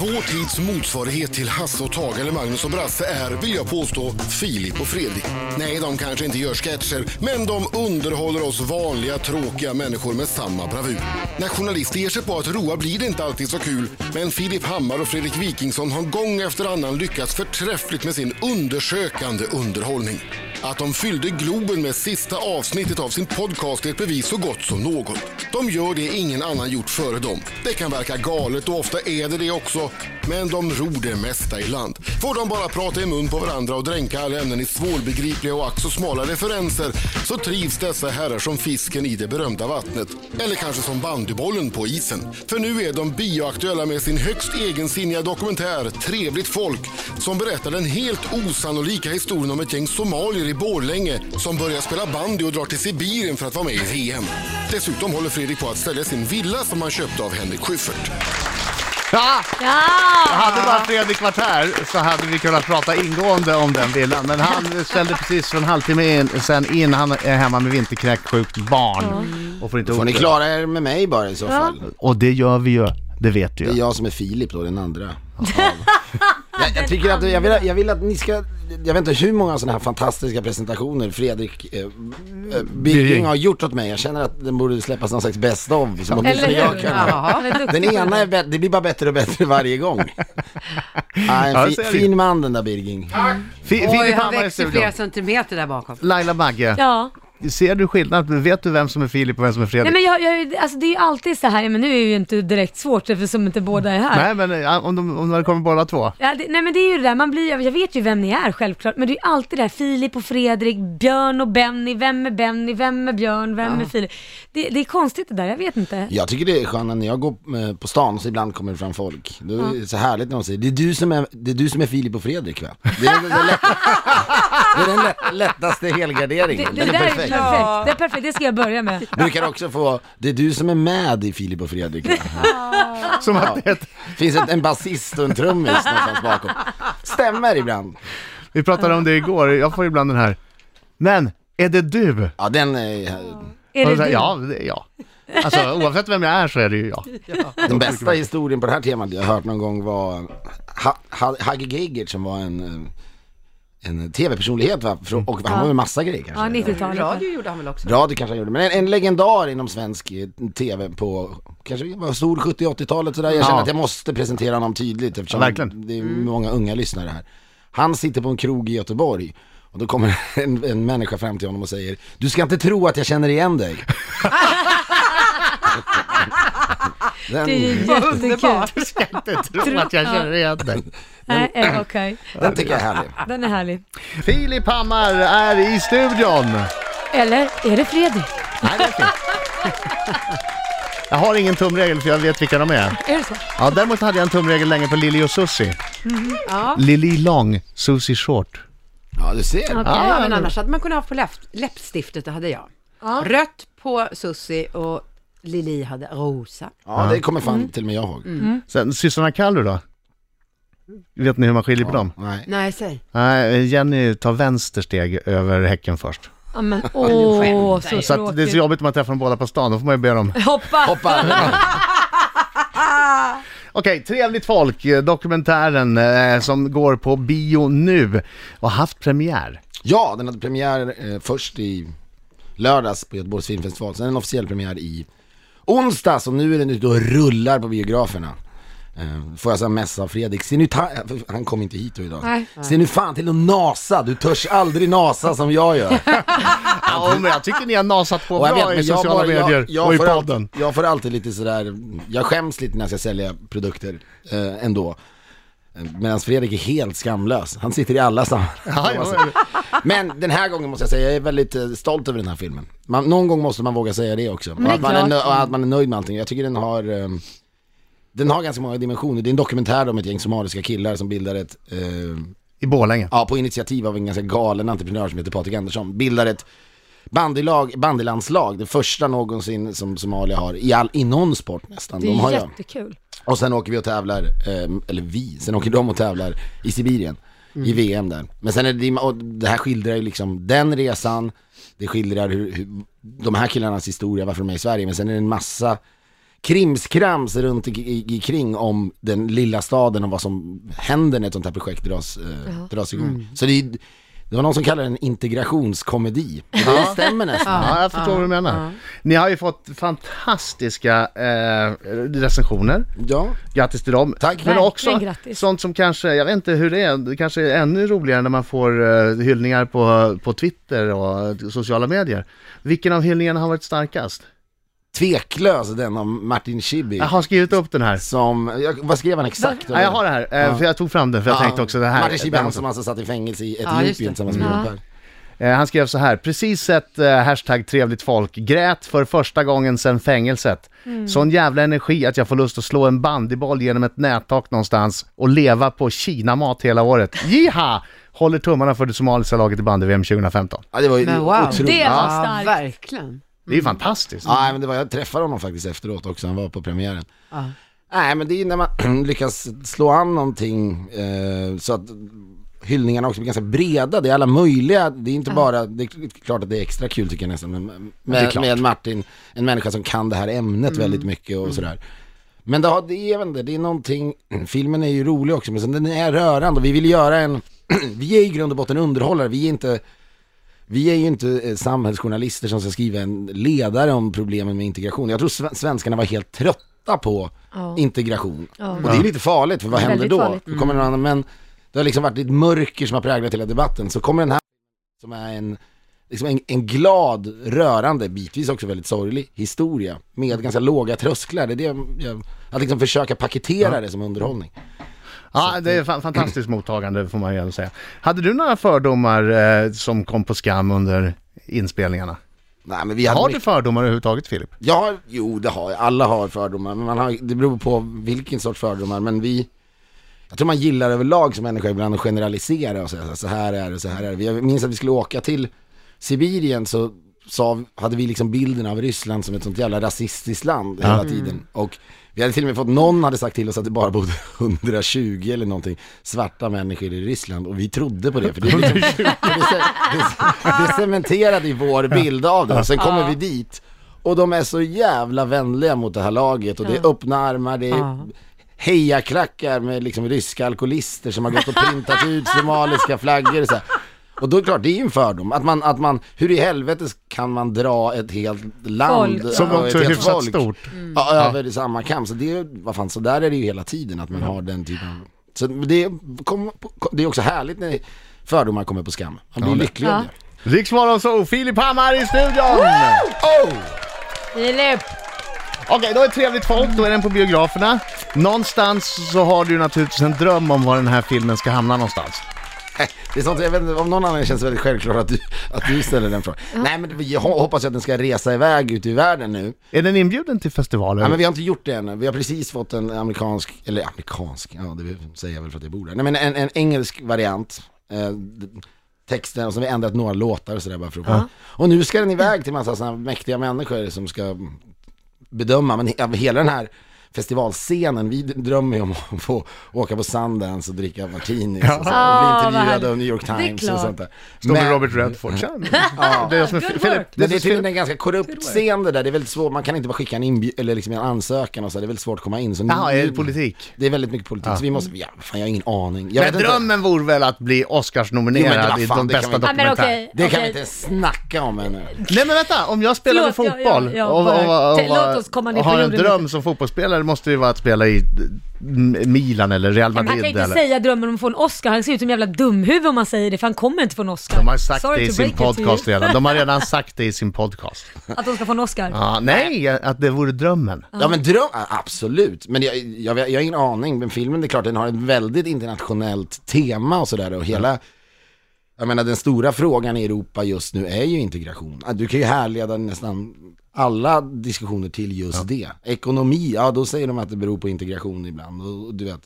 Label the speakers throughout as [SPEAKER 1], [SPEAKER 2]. [SPEAKER 1] Vår tids motsvarighet till Hasse och Tage eller Magnus och Brasse är, vill jag påstå, Filip och Fredrik. Nej, de kanske inte gör sketcher, men de underhåller oss vanliga tråkiga människor med samma bravur. När journalister ger sig på att roa blir det inte alltid så kul, men Filip Hammar och Fredrik Wikingsson har gång efter annan lyckats förträffligt med sin undersökande underhållning. Att de fyllde Globen med sista avsnittet av sin podcast är ett bevis så gott som något. De gör det ingen annan gjort före dem. Det kan verka galet och ofta är det det också, men de ror det mesta i land. Får de bara prata i mun på varandra och dränka alla ämnen i svårbegripliga och ack så smala referenser så trivs dessa herrar som fisken i det berömda vattnet. Eller kanske som bandybollen på isen. För nu är de bioaktuella med sin högst egensinniga dokumentär Trevligt folk som berättar den helt osannolika historien om ett gäng somalier i Borlänge som börjar spela bandy och drar till Sibirien för att vara med i VM. Dessutom håller Fredrik på att sälja sin villa som han köpte av Henrik Schyffert.
[SPEAKER 2] Ja!
[SPEAKER 3] Ja!
[SPEAKER 2] Hade bara Fredrik varit här så hade vi kunnat prata ingående om den villan. Men han ställde precis för en halvtimme in, sen in. Han är hemma med vinterkräksjukt barn. Och får inte
[SPEAKER 3] Får ni
[SPEAKER 2] ordet.
[SPEAKER 3] klara er med mig bara i så fall?
[SPEAKER 2] Och det gör vi ju. Det vet du
[SPEAKER 3] Det är
[SPEAKER 2] ju.
[SPEAKER 3] jag som är Filip då, den andra. av- jag, jag, tycker att, jag, vill, jag vill att ni ska, jag vet inte hur många sådana här fantastiska presentationer Fredrik eh, eh, Birging har gjort åt mig. Jag känner att den borde släppas någon slags best of. Som
[SPEAKER 4] Eller
[SPEAKER 3] åtminstone jag
[SPEAKER 4] hur?
[SPEAKER 3] kan.
[SPEAKER 4] Ja, han är duktig
[SPEAKER 3] Den
[SPEAKER 4] på
[SPEAKER 3] ena är bättre, det blir bara bättre och bättre varje gång. Ah,
[SPEAKER 2] Ja,
[SPEAKER 3] en
[SPEAKER 2] så
[SPEAKER 3] fi,
[SPEAKER 2] är det ju.
[SPEAKER 3] fin man den där Birging.
[SPEAKER 2] Fi-
[SPEAKER 4] Oj,
[SPEAKER 2] Filip
[SPEAKER 4] han
[SPEAKER 2] Hammar i
[SPEAKER 4] växer
[SPEAKER 2] studion.
[SPEAKER 4] flera centimeter där bakom.
[SPEAKER 2] Laila Bagge,
[SPEAKER 5] Ja.
[SPEAKER 2] ser du skillnad? Vet du vem som är Filip och vem som är Fredrik?
[SPEAKER 5] Nej men jag, jag, alltså det är ju alltid så här, men nu är det ju inte direkt svårt eftersom inte båda är här.
[SPEAKER 2] Nej, men eh, om, de, om det kommer båda två.
[SPEAKER 5] Ja, det, nej men det är ju det där, man blir, jag vet ju vem ni är självklart, men det är ju alltid det här Filip och Fredrik, Björn och Benny, vem är Benny, vem är Björn, vem är Filip? Det, det är konstigt det där, jag vet inte.
[SPEAKER 3] Jag tycker det är skönt när jag går eh, på stan så ibland kommer det fram folk. Det är så härligt när de säger det är du som är, det är, du som är Filip och Fredrik va? Det är, det är, lätt, det är den lätt, lättaste
[SPEAKER 5] Det,
[SPEAKER 3] helgarderingen.
[SPEAKER 5] det,
[SPEAKER 3] den
[SPEAKER 5] där
[SPEAKER 3] är
[SPEAKER 5] är
[SPEAKER 3] perfekt.
[SPEAKER 5] perfekt, det är perfekt, det ska jag börja med.
[SPEAKER 3] Brukar också få, det är du som är med i Filip och Fredrik. va?
[SPEAKER 2] Som att det,
[SPEAKER 3] Finns ett, en basist och en trummis någonstans bakom. Stämmer ibland.
[SPEAKER 2] vi pratade om det igår, jag får ibland den här. Men, är det du?
[SPEAKER 3] Ja den är,
[SPEAKER 5] Är
[SPEAKER 2] Och
[SPEAKER 5] det
[SPEAKER 2] så här,
[SPEAKER 5] du?
[SPEAKER 2] ja, det är jag. Alltså oavsett vem jag är så är det ju jag.
[SPEAKER 3] Den bästa historien på det här temat jag har hört någon gång var ha, ha, Hagge Geigert som var en, eh, en tv-personlighet va? Frå- Och han var med massa grejer kanske.
[SPEAKER 5] Ja, 90-talet.
[SPEAKER 4] Radio gjorde han väl också?
[SPEAKER 3] Radio kanske han gjorde, men en, en legendar inom svensk eh, tv på, kanske var stor 70-80-talet sådär. Jag känner
[SPEAKER 2] Ja.
[SPEAKER 3] att jag måste presentera honom tydligt eftersom
[SPEAKER 2] Ja, verkligen.
[SPEAKER 3] det är många unga lyssnare här. Han sitter på en krog i Göteborg och då kommer en, en människa fram till honom och säger Du ska inte tro att jag känner igen dig. Den,
[SPEAKER 5] Det är ju
[SPEAKER 4] Vad
[SPEAKER 5] jättekul.
[SPEAKER 4] underbart!
[SPEAKER 2] Du ska inte tro att jag känner igen dig.
[SPEAKER 5] Nej, eh, okej.
[SPEAKER 3] den tycker jag är härlig.
[SPEAKER 5] Den är härlig.
[SPEAKER 2] Filip Hammar är i studion.
[SPEAKER 5] Eller är det Fredrik?
[SPEAKER 2] Nej, det är fint. Jag har ingen tumregel för jag vet vilka de är.
[SPEAKER 5] Är det så?
[SPEAKER 2] Ja, däremot hade jag en tumregel länge på Lili och Susie.
[SPEAKER 4] Ja.
[SPEAKER 2] Lili lång, Susie short.
[SPEAKER 3] Ja du ser.
[SPEAKER 4] ja, men annars hade man kunnat ha på läpp, läppstiftet, det hade jag. Rött på Susi och Lili hade rosa.
[SPEAKER 3] Ja, det kommer fan till och med jag ihåg.
[SPEAKER 2] Sen systrarna Kallu då? Vet ni hur man skiljer på dem?
[SPEAKER 3] Nej.
[SPEAKER 4] Nej, säg.
[SPEAKER 2] Nej, Jenny tar vänster steg över häcken först.
[SPEAKER 5] Ja, men åh, så
[SPEAKER 2] Så att det är så
[SPEAKER 5] tråkigt.
[SPEAKER 2] jobbigt om man träffar dem båda på stan, då får man ju be dem
[SPEAKER 5] Hoppa!
[SPEAKER 3] Hoppa.
[SPEAKER 2] Okej, Trevligt folk, eh, dokumentären eh, som går på bio nu och haft premiär.
[SPEAKER 3] Ja, den hade premiär eh, först i lördags på Göteborgs filmfestival, sen en officiell premiär i onsdags och nu är den ute och rullar på biograferna. Eh, Får jag så här mess av Fredrik, se nu ta- eh, han kom inte hit då idag.
[SPEAKER 5] Nej.
[SPEAKER 3] Se nu fan till att nasa, du törs aldrig nasa som jag gör.
[SPEAKER 2] Ja, men jag tycker ni har nasat på
[SPEAKER 3] Och jag
[SPEAKER 2] bra
[SPEAKER 3] vet,
[SPEAKER 2] i
[SPEAKER 3] men jag
[SPEAKER 2] sociala
[SPEAKER 3] får- jag-
[SPEAKER 2] medier
[SPEAKER 3] jag
[SPEAKER 2] och i
[SPEAKER 3] får alltid-
[SPEAKER 2] podden.
[SPEAKER 3] Jag får alltid lite sådär, jag skäms lite när jag ska sälja produkter eh, ändå. Medan Fredrik är helt skamlös. Han sitter i alla sammanhang.
[SPEAKER 2] ja,
[SPEAKER 3] Men den här gången måste jag säga, jag är väldigt eh, stolt över den här filmen. Man, någon gång måste man våga säga det också.
[SPEAKER 5] det
[SPEAKER 3] och
[SPEAKER 5] är
[SPEAKER 3] att man är,
[SPEAKER 5] klart.
[SPEAKER 3] nö- och att man är nöjd med allting. Jag tycker den har, eh, den har ganska många dimensioner. Det är en dokumentär om ett gäng somaliska killar som bildar ett eh,
[SPEAKER 2] I Borlänge.
[SPEAKER 3] ja, på initiativ av en ganska galen entreprenör som heter Patrik Andersson, bildar ett bandylag, bandylandslag, det första någonsin som Somalia har i, all, i någon sport nästan.
[SPEAKER 5] Det
[SPEAKER 3] De har
[SPEAKER 5] är
[SPEAKER 3] ju.
[SPEAKER 5] jättekul.
[SPEAKER 3] Och sen åker vi och tävlar, eh, eller vi, sen åker de och tävlar i Sibirien
[SPEAKER 2] Mm.
[SPEAKER 3] i VM där. Men sen är det, och det här skildrar ju liksom den resan, det skildrar hur, hur de här killarnas historia, varför de är i Sverige, men sen är det en massa krimskrams runt i, i, i kring om den lilla staden och vad som händer när ett sånt här projekt dras, eh, dras igång.
[SPEAKER 2] Mm.
[SPEAKER 3] Så det, är- det var någon som kallade det en integrationskomedi. Och det stämmer nästan.
[SPEAKER 2] Ja, jag förstår vad du menar. Ni har ju fått fantastiska eh, recensioner.
[SPEAKER 3] Ja.
[SPEAKER 2] Grattis till dem. Men
[SPEAKER 3] Tack.
[SPEAKER 5] Verkligen
[SPEAKER 2] också
[SPEAKER 5] grattis.
[SPEAKER 2] sånt som kanske, jag vet inte hur det är, det kanske är ännu roligare när man får eh, hyllningar på, på Twitter och eh, sociala medier. Vilken av hyllningarna har varit starkast?
[SPEAKER 3] Tveklös den av Martin Schibbye.
[SPEAKER 2] Jag har skrivit upp den här.
[SPEAKER 3] Som, jag, vad skrev han exakt?
[SPEAKER 2] Ja, jag har det här, eh, för jag tog fram den för jag
[SPEAKER 3] Ja,
[SPEAKER 2] tänkte också det här.
[SPEAKER 3] Martin Schibbye,
[SPEAKER 2] den-
[SPEAKER 3] han som alltså satt i fängelse i
[SPEAKER 4] Ja,
[SPEAKER 3] Etiopien
[SPEAKER 4] just det.
[SPEAKER 3] tillsammans med Robert.
[SPEAKER 2] Eh, Han skrev så här, precis sett eh, hashtag trevligt folk, grät för första gången sedan fängelset.
[SPEAKER 3] Mm.
[SPEAKER 2] Sån jävla energi att jag får lust att slå en bandyboll genom ett nättak någonstans och leva på kinamat hela året. Jiha! Håller tummarna för det somaliska laget i bandy-VM 2015.
[SPEAKER 3] Ja, det var ju
[SPEAKER 4] Men wow.
[SPEAKER 3] otroligt.
[SPEAKER 5] Det var
[SPEAKER 4] Ja,
[SPEAKER 5] starkt.
[SPEAKER 4] verkligen.
[SPEAKER 2] Det är ju fantastiskt.
[SPEAKER 3] Mm. Ja, nej, men det var, jag träffade honom faktiskt efteråt också, han var på premiären.
[SPEAKER 4] Ja.
[SPEAKER 3] Nej, men det är ju när man lyckas slå an någonting eh, så att hyllningarna också blir ganska breda. Det är alla möjliga, det är inte bara, det är klart att det är extra kul tycker jag nästan, men med, med Martin, en människa som kan det här ämnet väldigt mycket och sådär. Men det, har, det, är, jag vet inte, det är någonting, filmen är ju rolig också, men sen den är rörande och vi vill göra en, vi är i grund och botten underhållare, vi är inte vi är ju inte eh, samhällsjournalister som ska skriva en ledare om problemen med integration. Jag tror sve- svenskarna var helt trötta på
[SPEAKER 5] Ja.
[SPEAKER 3] integration. Och det är lite farligt, för vad händer
[SPEAKER 5] Väldigt
[SPEAKER 3] då?
[SPEAKER 5] farligt.
[SPEAKER 3] Då kommer någon annan, men det har liksom varit ett mörker som har präglat hela debatten. Så kommer den här som är en, liksom en, en glad, rörande, bitvis också väldigt sorglig historia med ganska låga trösklar. Det är det jag- jag, att liksom försöka paketera det som underhållning.
[SPEAKER 2] Ja, det är fa- fantastiskt mottagande får man ju ändå säga. Hade du några fördomar eh, som kom på skam under inspelningarna?
[SPEAKER 3] Nej, men vi hade
[SPEAKER 2] Har
[SPEAKER 3] mycket-
[SPEAKER 2] du fördomar överhuvudtaget Filip?
[SPEAKER 3] Ja, jo det har jag. Alla har fördomar, men man har, det beror på vilken sorts fördomar, men vi jag tror man gillar överlag som människa ibland att generalisera och säga så här är det, så här är det. Vi- Jag minns att vi skulle åka till Sibirien så sa, hade vi liksom bilden av Ryssland som ett sånt jävla rasistiskt land hela tiden. Och vi hade till och med fått, någon hade sagt till oss att det bara bodde 120 eller någonting svarta människor i Ryssland och vi trodde på det. För det, är liksom, det, det, det cementerade ju vår bild av det. Och sen kommer vi dit och de är så jävla vänliga mot det här laget och det är öppna armar, det är hejaklackar med liksom ryska alkoholister som har gått och printat ut somaliska flaggor och så här. Och då är det klart, det är ju en fördom. Att man, att man, hur i helvete kan man dra ett helt land
[SPEAKER 5] Folk, ja.
[SPEAKER 3] och
[SPEAKER 2] Som
[SPEAKER 3] ett
[SPEAKER 2] också är
[SPEAKER 3] helt
[SPEAKER 2] hyfsat
[SPEAKER 3] folk Mm.
[SPEAKER 2] stort.
[SPEAKER 3] ja, över i samma kam? Så det är, vad fan, så där är det ju hela tiden att man
[SPEAKER 2] Mm.
[SPEAKER 3] har den typen av... Så det, kom, det är också härligt när fördomar kommer på skam. Man blir lycklig av
[SPEAKER 5] Ja.
[SPEAKER 3] det.
[SPEAKER 2] Riksmorgon så Filip Hammar i studion!
[SPEAKER 5] Filip!
[SPEAKER 2] Okej, då är det trevligt folk, då är den på biograferna. Någonstans så har du ju naturligtvis en dröm om var den här filmen ska hamna någonstans.
[SPEAKER 3] Det är sånt, jag vet inte, om någon annan känns det väldigt självklart att du, att du ställer den frågan. Nej men vi ho- hoppas ju att den ska resa iväg ut i världen nu.
[SPEAKER 2] Är den inbjuden till festivaler?
[SPEAKER 3] Nej men vi har inte gjort det ännu. Vi har precis fått en amerikansk, eller amerikansk, ja det säger jag väl för att jag bor där. Nej men en, en engelsk variant. Eh, d- texten och så har vi ändrat några låtar och sådär bara för att. Och nu ska den iväg till massa sådana mäktiga människor som ska bedöma, men he- hela den här festivalscenen, vi drömmer ju om att få åka på Sundance och dricka martinis och, så, här, och
[SPEAKER 5] Ah,
[SPEAKER 3] bli
[SPEAKER 5] vad härligt.
[SPEAKER 3] intervjuade av New York
[SPEAKER 5] Det är
[SPEAKER 3] Times och
[SPEAKER 5] klart.
[SPEAKER 3] sånt där.
[SPEAKER 2] Står med
[SPEAKER 3] Men-
[SPEAKER 2] Robert Redford. Tja, det är jag som är
[SPEAKER 5] Good
[SPEAKER 2] Filip,
[SPEAKER 5] work.
[SPEAKER 2] det är
[SPEAKER 3] men det är
[SPEAKER 2] så-
[SPEAKER 3] tydligen en ganska korrupt scen det där, det är väldigt svårt, man kan inte bara skicka en, inbju- eller liksom en ansökan och så, det är väldigt svårt att komma in. Så
[SPEAKER 2] Jaha,
[SPEAKER 3] nu-
[SPEAKER 2] är det politik?
[SPEAKER 3] Det är väldigt mycket politik, så vi måste, ja, fan jag har ingen aning. Jag
[SPEAKER 2] Men
[SPEAKER 3] vet inte.
[SPEAKER 2] drömmen vore väl att bli
[SPEAKER 3] Jo, men det
[SPEAKER 2] Oscars-nominerad
[SPEAKER 3] var
[SPEAKER 2] i
[SPEAKER 3] fan,
[SPEAKER 2] de
[SPEAKER 3] det kan
[SPEAKER 2] bästa
[SPEAKER 3] man-
[SPEAKER 5] Ja, men
[SPEAKER 2] dokumentärerna.
[SPEAKER 5] okej.
[SPEAKER 3] Det kan vi
[SPEAKER 5] okej.
[SPEAKER 3] inte snacka om ännu.
[SPEAKER 2] Nej men vänta, om jag spelar med
[SPEAKER 5] Förlåt, ja,
[SPEAKER 2] fotboll
[SPEAKER 5] ja, ja,
[SPEAKER 2] och,
[SPEAKER 5] bara-
[SPEAKER 2] och, och,
[SPEAKER 5] te- låt oss komma ner
[SPEAKER 2] och
[SPEAKER 5] på
[SPEAKER 2] har en
[SPEAKER 5] jorden
[SPEAKER 2] dröm som fotbollsspelare måste ju vara att spela i mm, Milan eller Real
[SPEAKER 5] Men
[SPEAKER 2] Madrid.
[SPEAKER 5] han kan ju inte
[SPEAKER 2] eller...
[SPEAKER 5] säga drömmen om att få en Oscar, han ser ut som en jävla dumhuvud om man säger det för han kommer inte få en Oscar.
[SPEAKER 2] De har sagt
[SPEAKER 5] Sorry
[SPEAKER 2] det i
[SPEAKER 5] to
[SPEAKER 2] sin
[SPEAKER 5] break it to you.
[SPEAKER 2] podcast redan. De har redan sagt det i sin podcast.
[SPEAKER 5] Att de ska få en Oscar.
[SPEAKER 2] Ja, nej, att det vore drömmen.
[SPEAKER 3] Ja men dröm, ja, absolut. Men jag, jag, jag har ingen aning, men filmen det är klart den har ett väldigt internationellt tema och sådär och hela Jag menar den stora frågan i Europa just nu är ju integration. Du kan ju härleda nästan alla diskussioner till just det. Ekonomi, ja då säger de att det beror på integration ibland och, och du vet,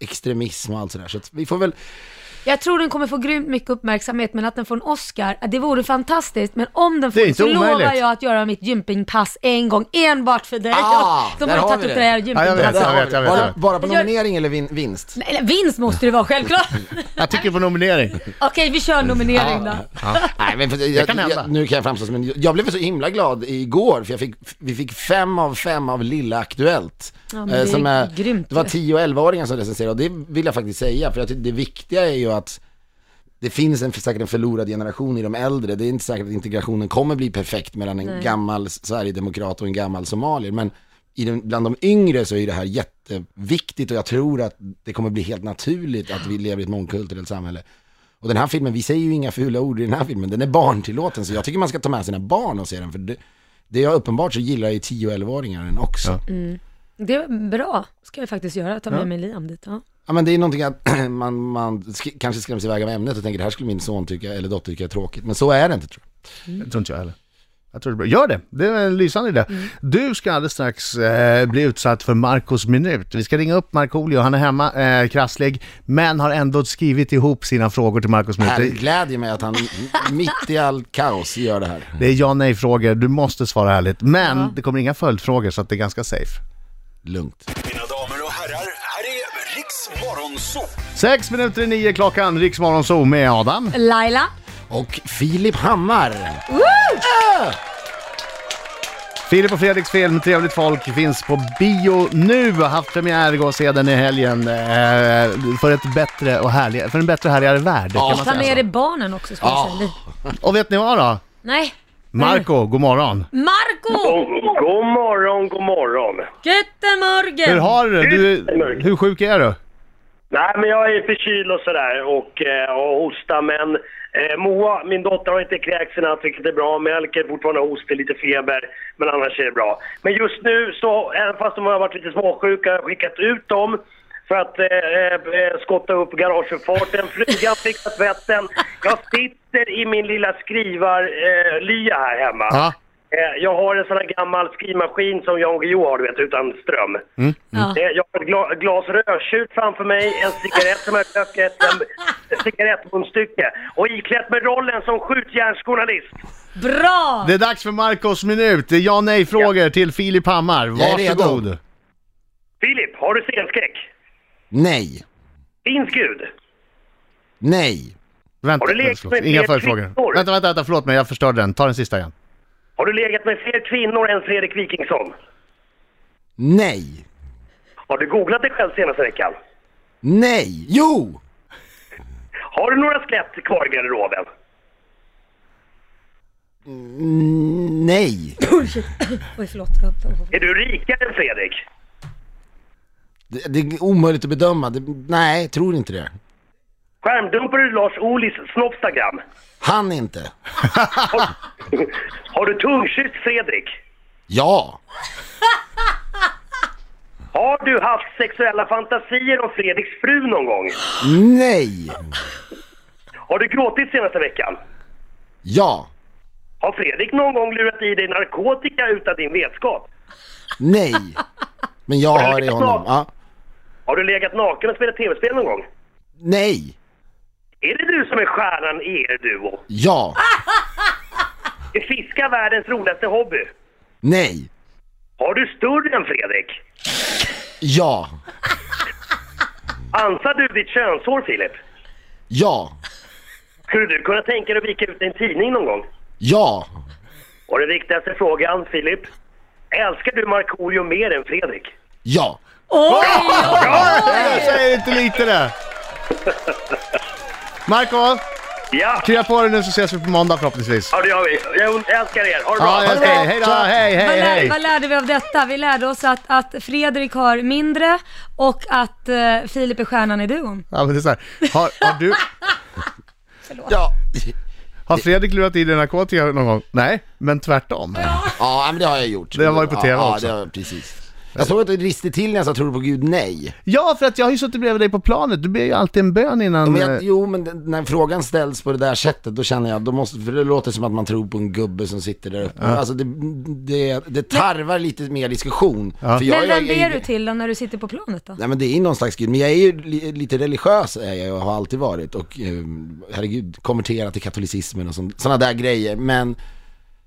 [SPEAKER 3] extremism och allt sådär. Så att vi får väl,
[SPEAKER 5] Jag tror den kommer få grymt mycket uppmärksamhet, men att den får en Oscar, det vore fantastiskt. Men om den
[SPEAKER 2] Det är
[SPEAKER 5] får
[SPEAKER 2] inte
[SPEAKER 5] så lovar
[SPEAKER 2] omöjligt.
[SPEAKER 5] jag att göra mitt gympingpass en gång, enbart för dig.
[SPEAKER 3] Ah,
[SPEAKER 5] de
[SPEAKER 3] där
[SPEAKER 5] har ju
[SPEAKER 3] har
[SPEAKER 5] tagit
[SPEAKER 3] vi
[SPEAKER 5] upp
[SPEAKER 3] det.
[SPEAKER 5] det här
[SPEAKER 2] Ja, jag vet,
[SPEAKER 5] gympingpasset.
[SPEAKER 2] jag vet, jag vet. Jag,
[SPEAKER 3] bara,
[SPEAKER 2] vet.
[SPEAKER 3] bara på
[SPEAKER 5] Jag gör-
[SPEAKER 3] nominering eller vin, vinst?
[SPEAKER 5] Men- Eller vinst måste det vara, självklart.
[SPEAKER 2] jag tycker på nominering.
[SPEAKER 5] Okej, vi kör nominering då.
[SPEAKER 3] Nej, men för, jag,
[SPEAKER 2] kan hända.
[SPEAKER 3] jag, nu kan jag framstå som en, jag blev så himla glad igår igår, för jag fick, vi fick fem av fem av Lilla Aktuellt.
[SPEAKER 5] men det är grymt
[SPEAKER 3] Eh, det var
[SPEAKER 5] ju.
[SPEAKER 3] 10 och 11-åringar som recenserade och det vill jag faktiskt säga, för jag tycker det viktiga är ju att det finns en, säkert en förlorad generation i de äldre. Det är inte säkert att integrationen kommer bli perfekt mellan en gammal Sverigedemokrat och en gammal somalier. Men i den, bland de yngre så är det här jätteviktigt och jag tror att det kommer bli helt naturligt att vi lever i ett mångkulturellt samhälle. Och den här filmen, vi säger ju inga fula ord i den här filmen, den är barntillåten så jag tycker man ska ta med sina barn och se den. För det, det är uppenbart så gillar ju 10 och 11-åringar den också.
[SPEAKER 5] Det är bra, ska jag faktiskt göra. Ta med mig Liam dit. Ja.
[SPEAKER 3] Ja men det är någonting att man, man sk- kanske skräms iväg av ämnet och tänker det här skulle min son tycka, eller dotter tycka är tråkigt. Men så är det inte tror jag.
[SPEAKER 2] Jag tror inte jag heller. Jag tror det är bra. Gör det! Det är en lysande idé. Du ska alldeles strax eh, bli utsatt för Marcos minut. Vi ska ringa upp Markoolio, han är hemma, eh, krasslig, men har ändå skrivit ihop sina frågor till Marcos minut.
[SPEAKER 3] Här
[SPEAKER 2] Det,
[SPEAKER 3] glädjer mig att han mitt i all kaos gör det här.
[SPEAKER 2] det är ja nej-frågor, du måste svara ärligt. Men det kommer inga följdfrågor så att det är ganska safe.
[SPEAKER 3] Lugnt.
[SPEAKER 6] Mina damer och herrar, här är Riks Morgonzoo!
[SPEAKER 2] Sex minuter i nio klockan, Riksmorgon Zoo med Adam.
[SPEAKER 5] Laila,
[SPEAKER 3] Och Filip Hammar.
[SPEAKER 2] Filip och Fredriks film Trevligt Folk finns på bio nu. Har haft premiär, gå och se den i helgen. Eh, för, ett bättre och härligare, för en bättre och härligare värld kan man
[SPEAKER 5] ta
[SPEAKER 2] säga
[SPEAKER 5] med dig
[SPEAKER 2] så.
[SPEAKER 5] barnen också ska jag säga.
[SPEAKER 2] Och vet ni vad då?
[SPEAKER 5] Nej.
[SPEAKER 2] Marco, god morgon.
[SPEAKER 5] Marco!
[SPEAKER 7] God morgon, god morgon.
[SPEAKER 5] Göttemorgen!
[SPEAKER 2] Hur har du det? du? Hur sjuk är du?
[SPEAKER 7] Nej, men jag är förkyld och sådär och, eh, och hostar, men eh, Moa, min dotter, har inte kräkts i natt, vilket är bra. Melker fortfarande hostig, lite feber, men annars är det bra. Men just nu, så, även fast de har varit lite småsjuka, har jag skickat ut dem för att eh, eh, skotta upp garageuppfarten. Flugan fick tvätten. Jag sitter i min lilla skrivarlya eh, lya här hemma.
[SPEAKER 2] Ja.
[SPEAKER 7] Eh, Jag har en sån här gammal skrivmaskin som Jan Guillou har, du vet, utan ström.
[SPEAKER 5] Ja.
[SPEAKER 7] Eh, Jag har ett gla- glas rödtjut framför mig, en cigarett som jag röker, ett cigarettmunstycke och iklätt med rollen som skjutjärnsjournalist.
[SPEAKER 5] Bra!
[SPEAKER 2] Det är dags för Marcos minut. Det är ja nej-frågor till Filip Hammar.
[SPEAKER 3] är redo.
[SPEAKER 2] Varsågod.
[SPEAKER 7] Filip, har du scenskräck?
[SPEAKER 3] Nej.
[SPEAKER 7] Finns Gud?
[SPEAKER 3] Nej.
[SPEAKER 2] Vänta,
[SPEAKER 7] Har du lekt
[SPEAKER 2] förlåt.
[SPEAKER 7] med
[SPEAKER 2] Inga
[SPEAKER 7] fler
[SPEAKER 2] följdfrågor.
[SPEAKER 7] kvinnor?
[SPEAKER 2] Vänta, vänta, vänta, förlåt mig, jag förstörde den. Ta den sista igen.
[SPEAKER 7] Har du legat med fler kvinnor än Fredrik Wikingsson?
[SPEAKER 3] Nej.
[SPEAKER 7] Har du googlat dig själv senaste veckan?
[SPEAKER 3] Nej. Jo!
[SPEAKER 7] Har du några skelett kvar i garderoben?
[SPEAKER 3] Nej.
[SPEAKER 5] Oj, förlåt.
[SPEAKER 7] Är du rikare än Fredrik?
[SPEAKER 3] Det, det är omöjligt att bedöma. Det, nej, tror inte det.
[SPEAKER 7] Skärmdumpar du Lars Olis snoppstagram?
[SPEAKER 3] Han inte.
[SPEAKER 7] Har du tungkysst Fredrik?
[SPEAKER 3] Ja.
[SPEAKER 7] Har du haft sexuella fantasier om Fredriks fru någon gång?
[SPEAKER 3] Nej.
[SPEAKER 7] Har du gråtit senaste veckan?
[SPEAKER 3] Ja.
[SPEAKER 7] Har Fredrik någon gång lurat i dig narkotika utan din vetskap?
[SPEAKER 3] Nej. Men jag har det i honom. Ja.
[SPEAKER 7] Har du legat naken och spelat tv-spel någon gång?
[SPEAKER 3] Nej.
[SPEAKER 7] Är det du som är stjärnan i er duo?
[SPEAKER 3] Ja.
[SPEAKER 7] Är fiska världens roligaste hobby?
[SPEAKER 3] Nej.
[SPEAKER 7] Har du större än Fredrik?
[SPEAKER 3] Ja.
[SPEAKER 7] Ansar du ditt könshår, Filip?
[SPEAKER 3] Ja.
[SPEAKER 7] Skulle du kunna tänka dig att vika ut en tidning någon gång?
[SPEAKER 3] Ja.
[SPEAKER 7] Och den viktigaste frågan, Filip. Älskar du Markoolio mer än Fredrik?
[SPEAKER 3] Ja.
[SPEAKER 2] Jag säger inte lite det. Marco,
[SPEAKER 7] Ja,
[SPEAKER 2] krya på dig nu så ses vi på måndag förhoppningsvis.
[SPEAKER 7] ja det gör vi. Jag älskar er. Ha det bra.
[SPEAKER 2] Ja, jag säger hej då, hej,
[SPEAKER 5] Vad,
[SPEAKER 2] hej,
[SPEAKER 5] lär,
[SPEAKER 2] hej.
[SPEAKER 5] vad lärde vi av detta? Vi lärde oss att, att Fredrik har mindre och att eh, Filip är stjärnan i duon.
[SPEAKER 2] Ja, men det är så här. Har, har du...
[SPEAKER 3] Ja.
[SPEAKER 2] Har Fredrik lurat i dig narkotika någon gång? Nej, men tvärtom.
[SPEAKER 3] Ja, men det har jag gjort.
[SPEAKER 2] Det har varit på TV
[SPEAKER 3] ja,
[SPEAKER 2] också.
[SPEAKER 3] Ja, det har, precis. Jag såg att du riste till när jag sa tror du på Gud nej.
[SPEAKER 2] Ja, för att jag har ju suttit bredvid dig på planet. Du ber ju alltid en bön innan...
[SPEAKER 3] Men jag,
[SPEAKER 2] eh,
[SPEAKER 3] jo, men den- när frågan ställs på det där sättet, då känner jag, då måste, för det låter som att man tror på en gubbe som sitter där uppe. Alltså det, det, det tarvar lite mer diskussion. För jag,
[SPEAKER 5] Men
[SPEAKER 3] jag-
[SPEAKER 5] vem ber
[SPEAKER 3] jag-
[SPEAKER 5] du till då när du sitter på planet då?
[SPEAKER 3] Nej men det är någon slags gud, men jag är ju li, lite religiös är jag och har alltid varit och eh, herregud, konverterat till katolicismen och sådana där grejer. Men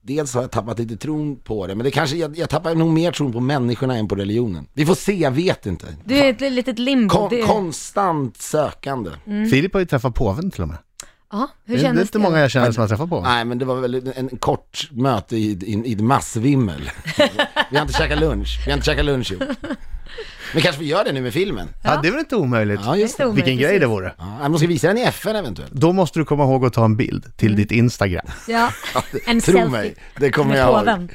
[SPEAKER 3] dels har jag tappat lite tron på det, men det kanske, jag, jag tappar nog mer tron på människorna än på religionen. Vi får se, jag vet inte.
[SPEAKER 5] Du är ett litet limbo.
[SPEAKER 3] Kon,
[SPEAKER 5] det...
[SPEAKER 3] Konstant sökande.
[SPEAKER 2] Mm. Filip har ju träffat påven till och med.
[SPEAKER 5] Ja, hur
[SPEAKER 2] Det är
[SPEAKER 5] kändes
[SPEAKER 2] inte
[SPEAKER 5] det?
[SPEAKER 2] många jag känner som jag träffar på.
[SPEAKER 3] Nej, men det var väl en, en kort möte i, i, i massvimmel. vi har inte käkat lunch. Vi har inte käkat lunch ihop. Men kanske vi gör det nu med filmen?
[SPEAKER 2] Ja, det är väl inte omöjligt?
[SPEAKER 3] Ja, just det.
[SPEAKER 5] Stor,
[SPEAKER 2] Vilken
[SPEAKER 5] precis.
[SPEAKER 2] grej det vore.
[SPEAKER 3] Ja, men de ska visa den i FN eventuellt.
[SPEAKER 2] Då måste du komma ihåg att ta en bild
[SPEAKER 3] Mm.
[SPEAKER 2] till ditt Instagram.
[SPEAKER 5] Ja, en
[SPEAKER 3] Tro
[SPEAKER 5] selfie.
[SPEAKER 3] mig, det kommer
[SPEAKER 5] Med
[SPEAKER 3] jag ihåg.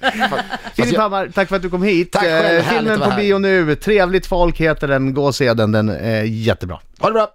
[SPEAKER 5] påven.
[SPEAKER 2] Filip Hammar, tack för att du kom hit.
[SPEAKER 3] Tack själv,
[SPEAKER 2] Eh,
[SPEAKER 3] härligt att
[SPEAKER 2] Filmen
[SPEAKER 3] vara
[SPEAKER 2] på
[SPEAKER 3] här.
[SPEAKER 2] bio nu, Trevligt folk heter den, gå och se den, den är jättebra.
[SPEAKER 3] Ha det bra!